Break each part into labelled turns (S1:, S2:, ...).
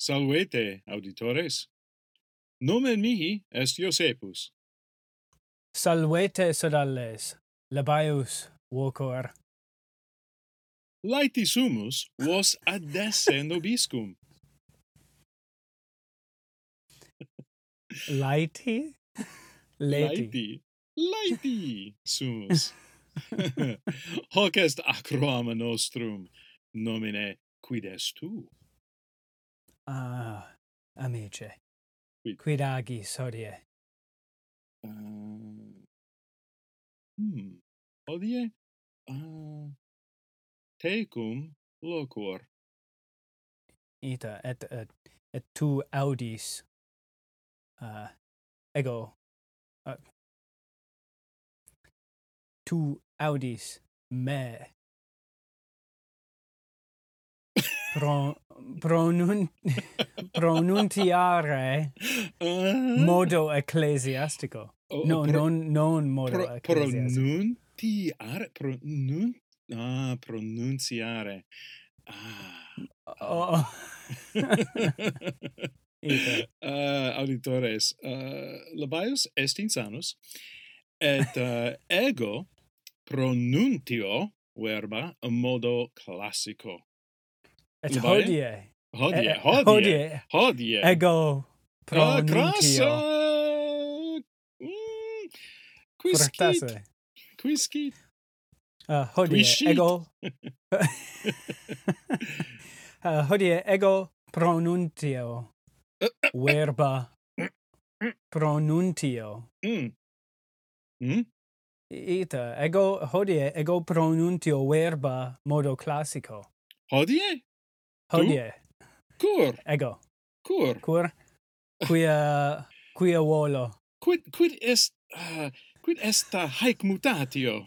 S1: Salvete, auditores. Nomen mihi est Iosepus.
S2: Salvete sodales, labaius, vocor.
S1: Laeti sumus vos adesse nobiscum.
S2: Laeti? Leti.
S1: Laeti. Laeti sumus. Hoc est acroam nostrum nomine quid est tu?
S2: Ah, amice.
S1: Qui-
S2: Quid agis hodie?
S1: Uh, hmm. Hodie uh, tecum locor.
S2: Ita et et, et tu audis uh, ego uh, tu audis me pro, pronun, pronuntiare
S1: Uh,
S2: modo ecclesiastico
S1: oh,
S2: no
S1: pro-
S2: non non modo
S1: pro,
S2: ecclesiastico
S1: pronuntiare pronun ah pronunciare ah
S2: oh, Ita.
S1: uh, auditores uh, labius est insanus et uh, ego pronuntio verba modo classico
S2: et
S1: Levae?
S2: hodie
S1: hodie
S2: eh,
S1: hodie hodie,
S2: hodie
S1: hodie.
S2: ego
S1: Ah,
S2: pronuntio
S1: crassa! Mm, quisquit
S2: fortasse
S1: quisquit
S2: uh, hodie
S1: Quisquit.
S2: ego uh, hodie ego pronuntio verba pronuntio
S1: mm. Mm?
S2: ita ego hodie ego pronuntio verba modo classico
S1: hodie Tu?
S2: hodie
S1: cur
S2: ego
S1: cur
S2: cur quia quia volo
S1: quid quid est uh, quid est haec mutatio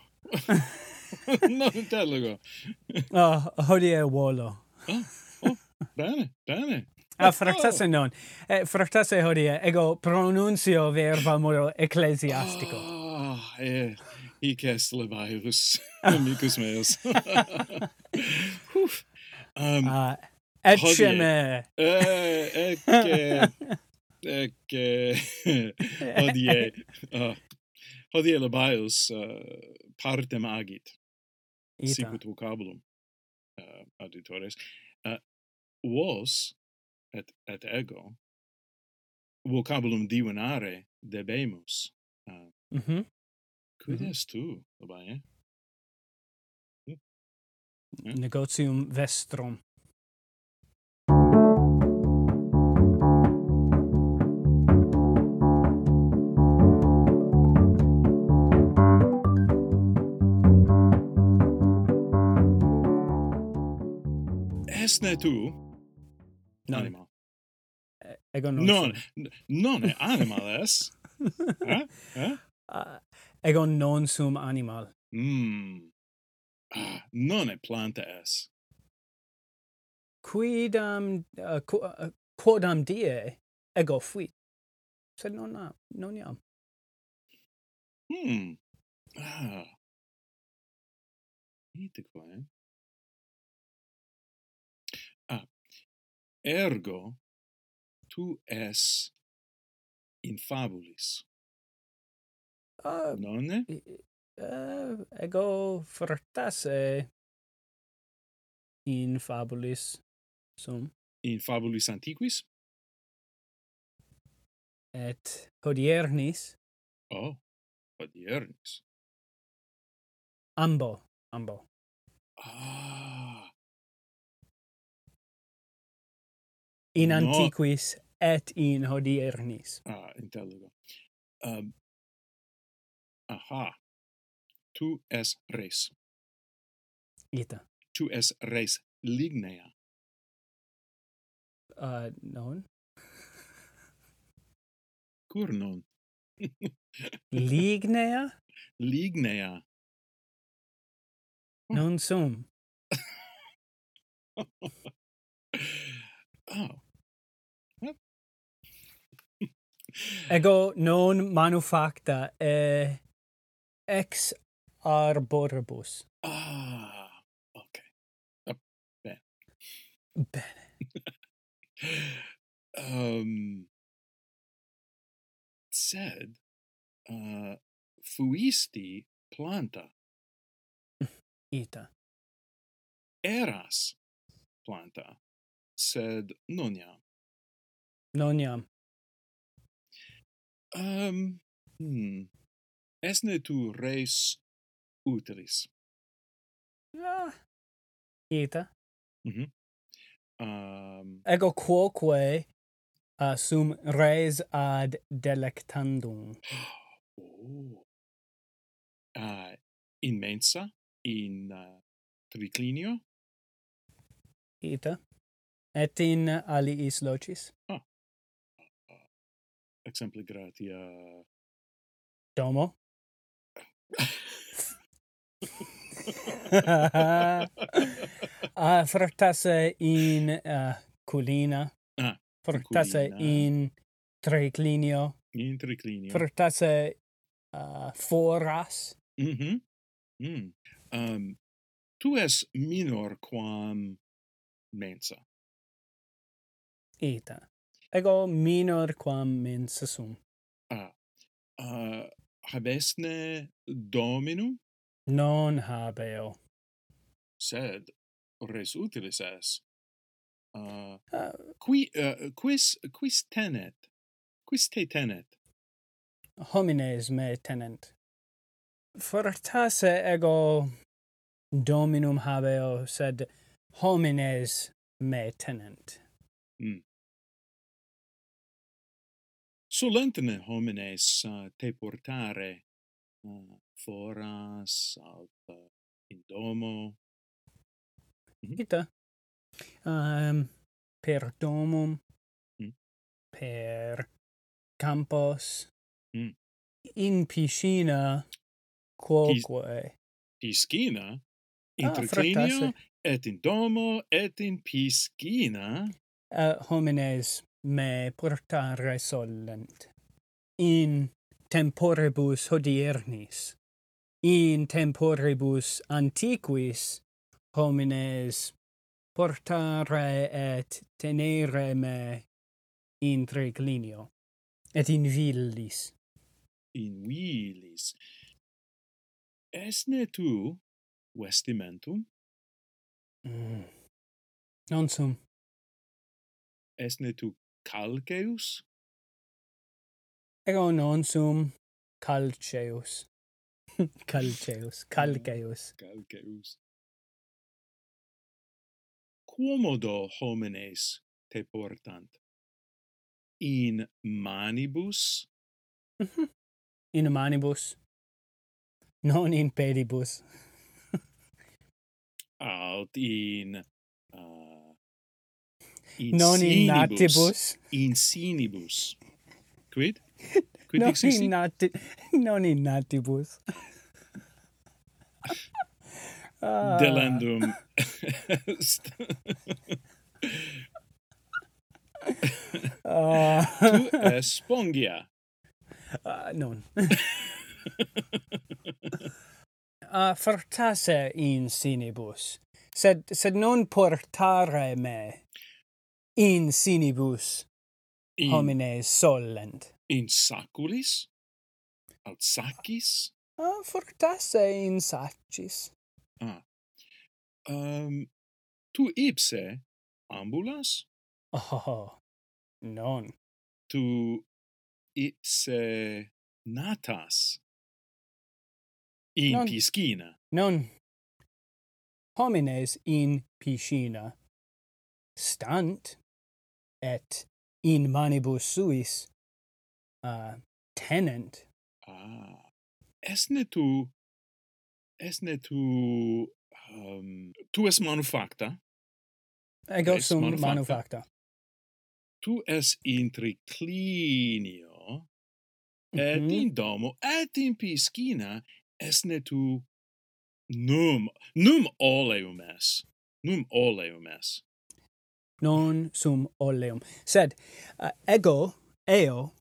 S1: non intellego
S2: uh, hodie volo
S1: bene bene
S2: Ah, fractasse non. Eh, fractasse hodie, ego pronuncio verba modo ecclesiastico.
S1: ah eh hic est levius amicus meus Huf. um
S2: Ah,
S1: Hodie.
S2: ecce me.
S1: eh ecce ecce hodie uh, hodie levius uh, partem agit
S2: Ita.
S1: sicut vocabulum uh, auditores uh, vos et et ego vocabulum divinare debemus uh,
S2: Mhm.
S1: quid
S2: Mhm.
S1: est tu labae
S2: Negotium vestrum.
S1: esne tu
S2: Non.
S1: anima
S2: Ego non.
S1: non
S2: sum.
S1: n- non e anima es eh? eh?
S2: Ah, ego non sum animal.
S1: mm. ah, non e planta es
S2: Quidam, uh, qu- uh, quodam die, ego fuit. Sed non am, non iam.
S1: hmm ah eh. Itaque. Ah, ergo tu es in fabulis,
S2: Ah,
S1: nonne?
S2: i- i- eh, ego fortasse in fabulis sum.
S1: In fabulis antiquis?
S2: et hodiernis
S1: Oh, odiernis.
S2: ambo ambo
S1: Ah,
S2: in
S1: No.
S2: antiquis et in hodiernis
S1: ah, intelligo. Um, aha, tu es res,
S2: ita
S1: tu es res lignea.
S2: uh, non
S1: Cur non?
S2: lignea
S1: Lignea. Hmm.
S2: non sum
S1: Oh,
S2: ego non manufacta e ex arboribus
S1: ah, ok.
S2: bene
S1: um, sed uh, fuisti planta
S2: Ita.
S1: eras planta sed non iam
S2: Non iam.
S1: um hmm. esne tu res utilis
S2: Ah. Ita.
S1: Mhm. um
S2: Ego quoque uh, sum res ad delectandum.
S1: oh. uh, in mensa in uh, triclinio
S2: Ita. Et in aliis locis.
S1: exemple gratia
S2: Domo. uh, fructase in uh, culina.
S1: Ah,
S2: fructase
S1: culina.
S2: in triclinio.
S1: in triclinio
S2: Fructase uh, foras.
S1: Mhm. Mm. Um tu es minor quam mensa.
S2: Ita. Ego minor quam mensa sum.
S1: Ah. Uh habesne dominum
S2: Non habeo.
S1: sed res utilis es. Uh
S2: Uh,
S1: qui uh, quis quis tenet? Quis te tenet?
S2: homines me tenent. Fortasse ego dominum habeo, sed homines me tenent.
S1: Solentine homines uh, te portare uh, foras aut uh, in domo
S2: Ita. Um, per domum,
S1: Mm.
S2: per campos,
S1: Mm.
S2: in piscina, quoque.
S1: piscina in
S2: Ah,
S1: triclinio
S2: fractasse.
S1: et in domo et in piscina
S2: uh, homines me portare solent in temporibus hodiernis in temporibus antiquis homines portare et tenere me in triclinio et in villis
S1: in vilis esne tu vestimentum
S2: mm. non sum
S1: esne tu calceus
S2: ego non sum calceus calceus calceus
S1: calceus quomodo homines te portant in manibus
S2: in manibus non in pedibus
S1: aut in uh, in
S2: non in
S1: sinibus.
S2: natibus
S1: in sinibus quid quid
S2: non
S1: existi
S2: in, nati- non in natibus Ah,
S1: delendum est.
S2: ah,
S1: tu es spongia.
S2: ah, non uh, fortasse in sinibus sed sed non portare me in sinibus
S1: In,
S2: homines solent
S1: in saculis, aut sacis,
S2: ah, fortasse in saccis
S1: ah. um, tu ipse ambulas,
S2: oh non
S1: tu ipse natas in
S2: Non.
S1: piscina.
S2: Non. Homines in piscina stant et in manibus suis uh, tenent.
S1: Ah. Esne tu, esne tu, um, tu es manufacta,
S2: Ego
S1: Res
S2: sum
S1: manufacta.
S2: manufacta.
S1: tu es in triclinio, et
S2: Mhm.
S1: in domo et in piscina esne tu num num oleum es num oleum es
S2: Non sum oleum. Sed uh, ego eo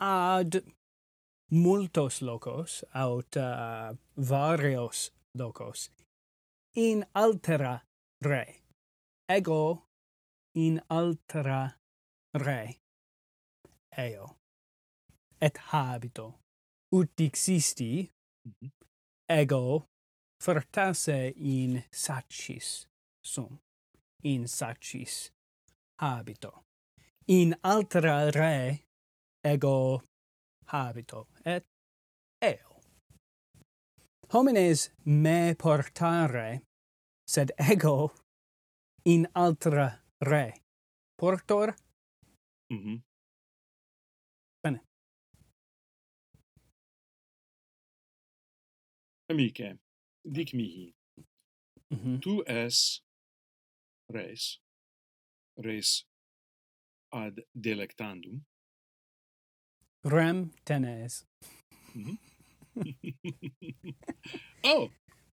S2: ad multos locos aut uh, varios locos in altera re ego in altra re eo et habito ut dixisti
S1: Mhm.
S2: ego fortasse in sacis sum in sacis habito in altra re ego habito et eo homines me portare sed ego in altra re portor
S1: Mm-hmm.
S2: Bene.
S1: Amice, dic mihi,
S2: Mhm.
S1: tu es res, res ad delectandum,
S2: rem tenes
S1: oh,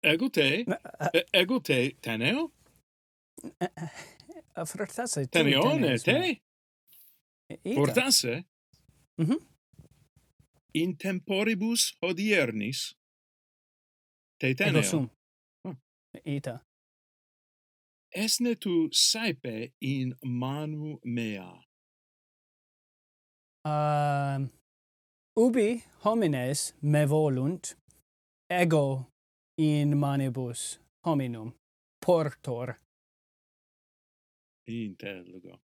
S1: ego te, e- ego te teneo,
S2: A frutase tu
S1: teneone
S2: tenes, me.
S1: te,
S2: Ita.
S1: portasse,
S2: Mhm.
S1: in temporibus hodiernis, te
S2: Ego
S1: teneo,
S2: sum.
S1: Ah.
S2: Ita.
S1: Esne tu saepe in manu mea.
S2: Um, ubi homines me volunt, ego in manibus hominum portor,
S1: Interrogo.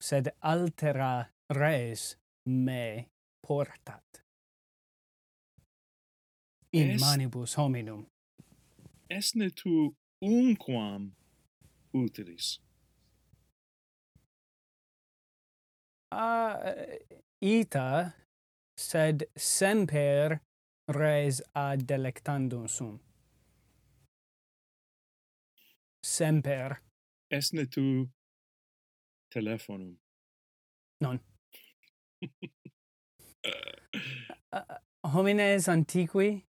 S2: sed altera res me portat. In
S1: Est-
S2: manibus hominum.
S1: Esne tu unquam utilis.
S2: Ah, ita, sed semper res ad delectandum sum. Semper.
S1: Esne tu telefonum.
S2: Homines antiqui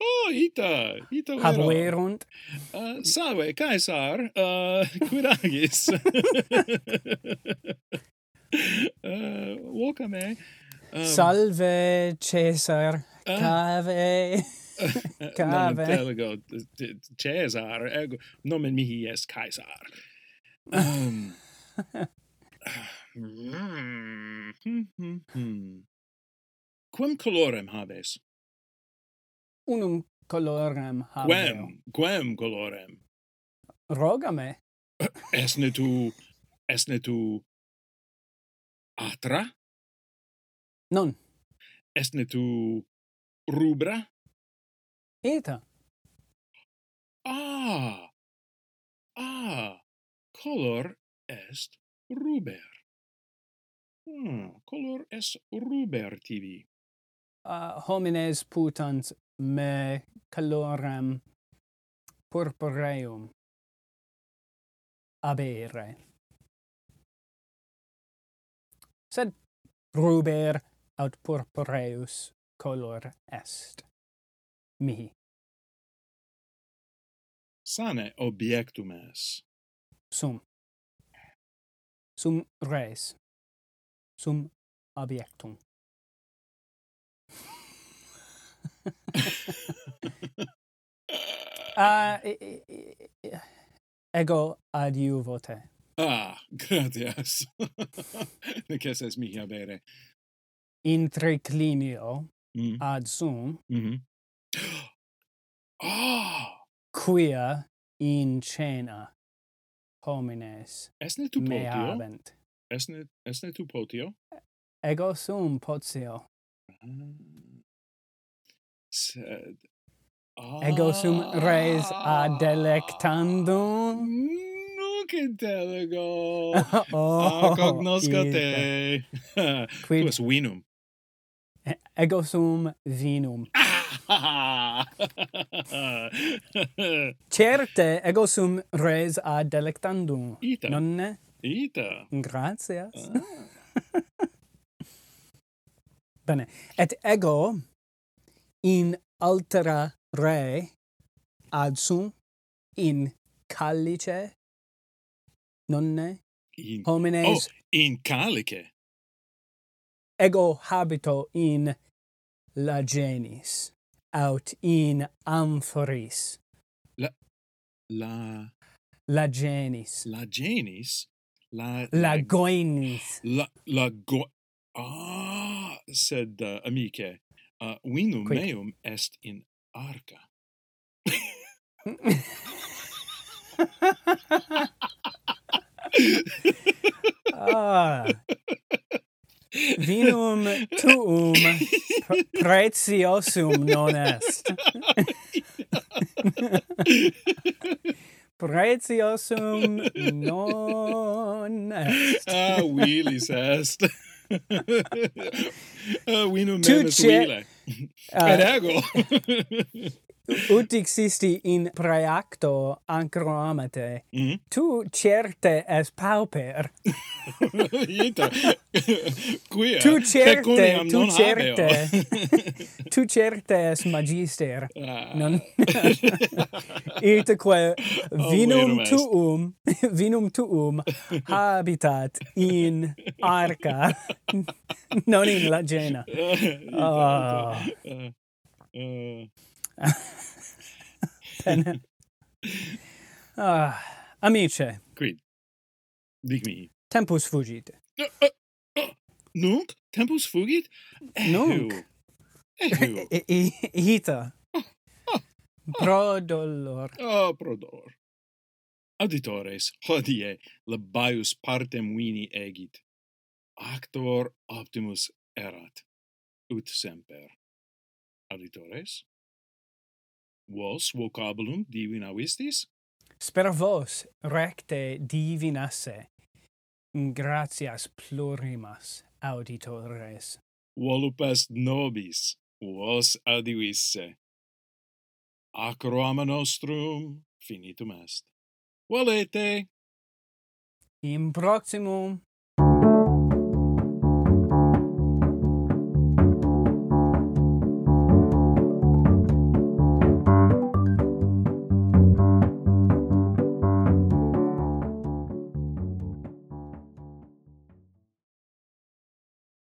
S1: oh, ita, ita vero.
S2: habuerunt
S1: Uh, salve, Caesar, uh, quid agis? uh, vocame. Um,
S2: salve Caesar
S1: uh,
S2: cave
S1: non
S2: Cave.
S1: intelligo t- t- Caesar ego nomen mihi est Caesar. Um, Quem colorem habes?
S2: unum colorem habeo
S1: Quem, quem colorem?
S2: roga me
S1: Esne tu, esne tu atra?
S2: non
S1: Esne tu rubra?
S2: ita
S1: Ah, ah, color est ruber. Hmm, color est ruber tibi.
S2: uh, homines putans me colorem purpureum abere sed ruber aut purpureus color est mihi
S1: Sane objectum es.
S2: sum sum res sum objectum uh, ego adiuvo te
S1: Ah, gratias. Neces es mihi habere.
S2: intriclinio
S1: Mm.
S2: ad sum
S1: Mhm. Ah,
S2: quia in cena homines
S1: esne tu
S2: me
S1: potio?
S2: habent
S1: Esne, esne tu potio?
S2: ego sum potio
S1: Ah. Sed...
S2: ego sum res ad delectandum
S1: Nunc intellego.
S2: oh
S1: ah, cognosco
S2: ita.
S1: te.
S2: Quid-
S1: tu es vinum.
S2: ego sum vinum
S1: Ah!
S2: Certe ego sum res ad delectandum.
S1: Ita.
S2: Nonne,
S1: Ita.
S2: gratias.
S1: Ah.
S2: Bene. Et ego in altera re ad sum in callice nonne
S1: In, oh,
S2: homines
S1: in calice.
S2: ego habito in la genis aut in amphoris
S1: La
S2: la genis
S1: la genis la
S2: la goinis
S1: la la go ah said uh, amice uh, vinum
S2: Quick.
S1: meum est in arca
S2: ah vinum tuum pre- preciosum non est preciosum non est
S1: ah vilis est uh, vinum
S2: Tu
S1: meum est
S2: ce-
S1: vile et
S2: uh,
S1: ego
S2: ut existi in praeacto ancroamate
S1: Mhm.
S2: tu certe es pauper
S1: Ita. Quia.
S2: Tu certe,
S1: pecuniam
S2: tu
S1: non
S2: certe. tu certe es magister
S1: habeo.
S2: non irteque vinum
S1: est.
S2: tuum vinum tuum habitat in arca non in lagena
S1: Ah. Uh, uh,
S2: Pena. ah amice
S1: quid? Dic mi.
S2: tempus fugit
S1: Uh, uh, uh, Nunc tempus fugit?
S2: Nunc.
S1: Eheu. Eheu.
S2: I- i- ita pro dolor
S1: Ah, prodor. Auditores, hodie labaius partem vini egit. Actor optimus erat, ut semper. Auditores? Vos vocabulum divina vistis?
S2: spera vos recte divinasse gratias plurimas auditores
S1: Volup est nobis, vos adivisse. Acroama nostrum finitum est. Valete!
S2: in proximum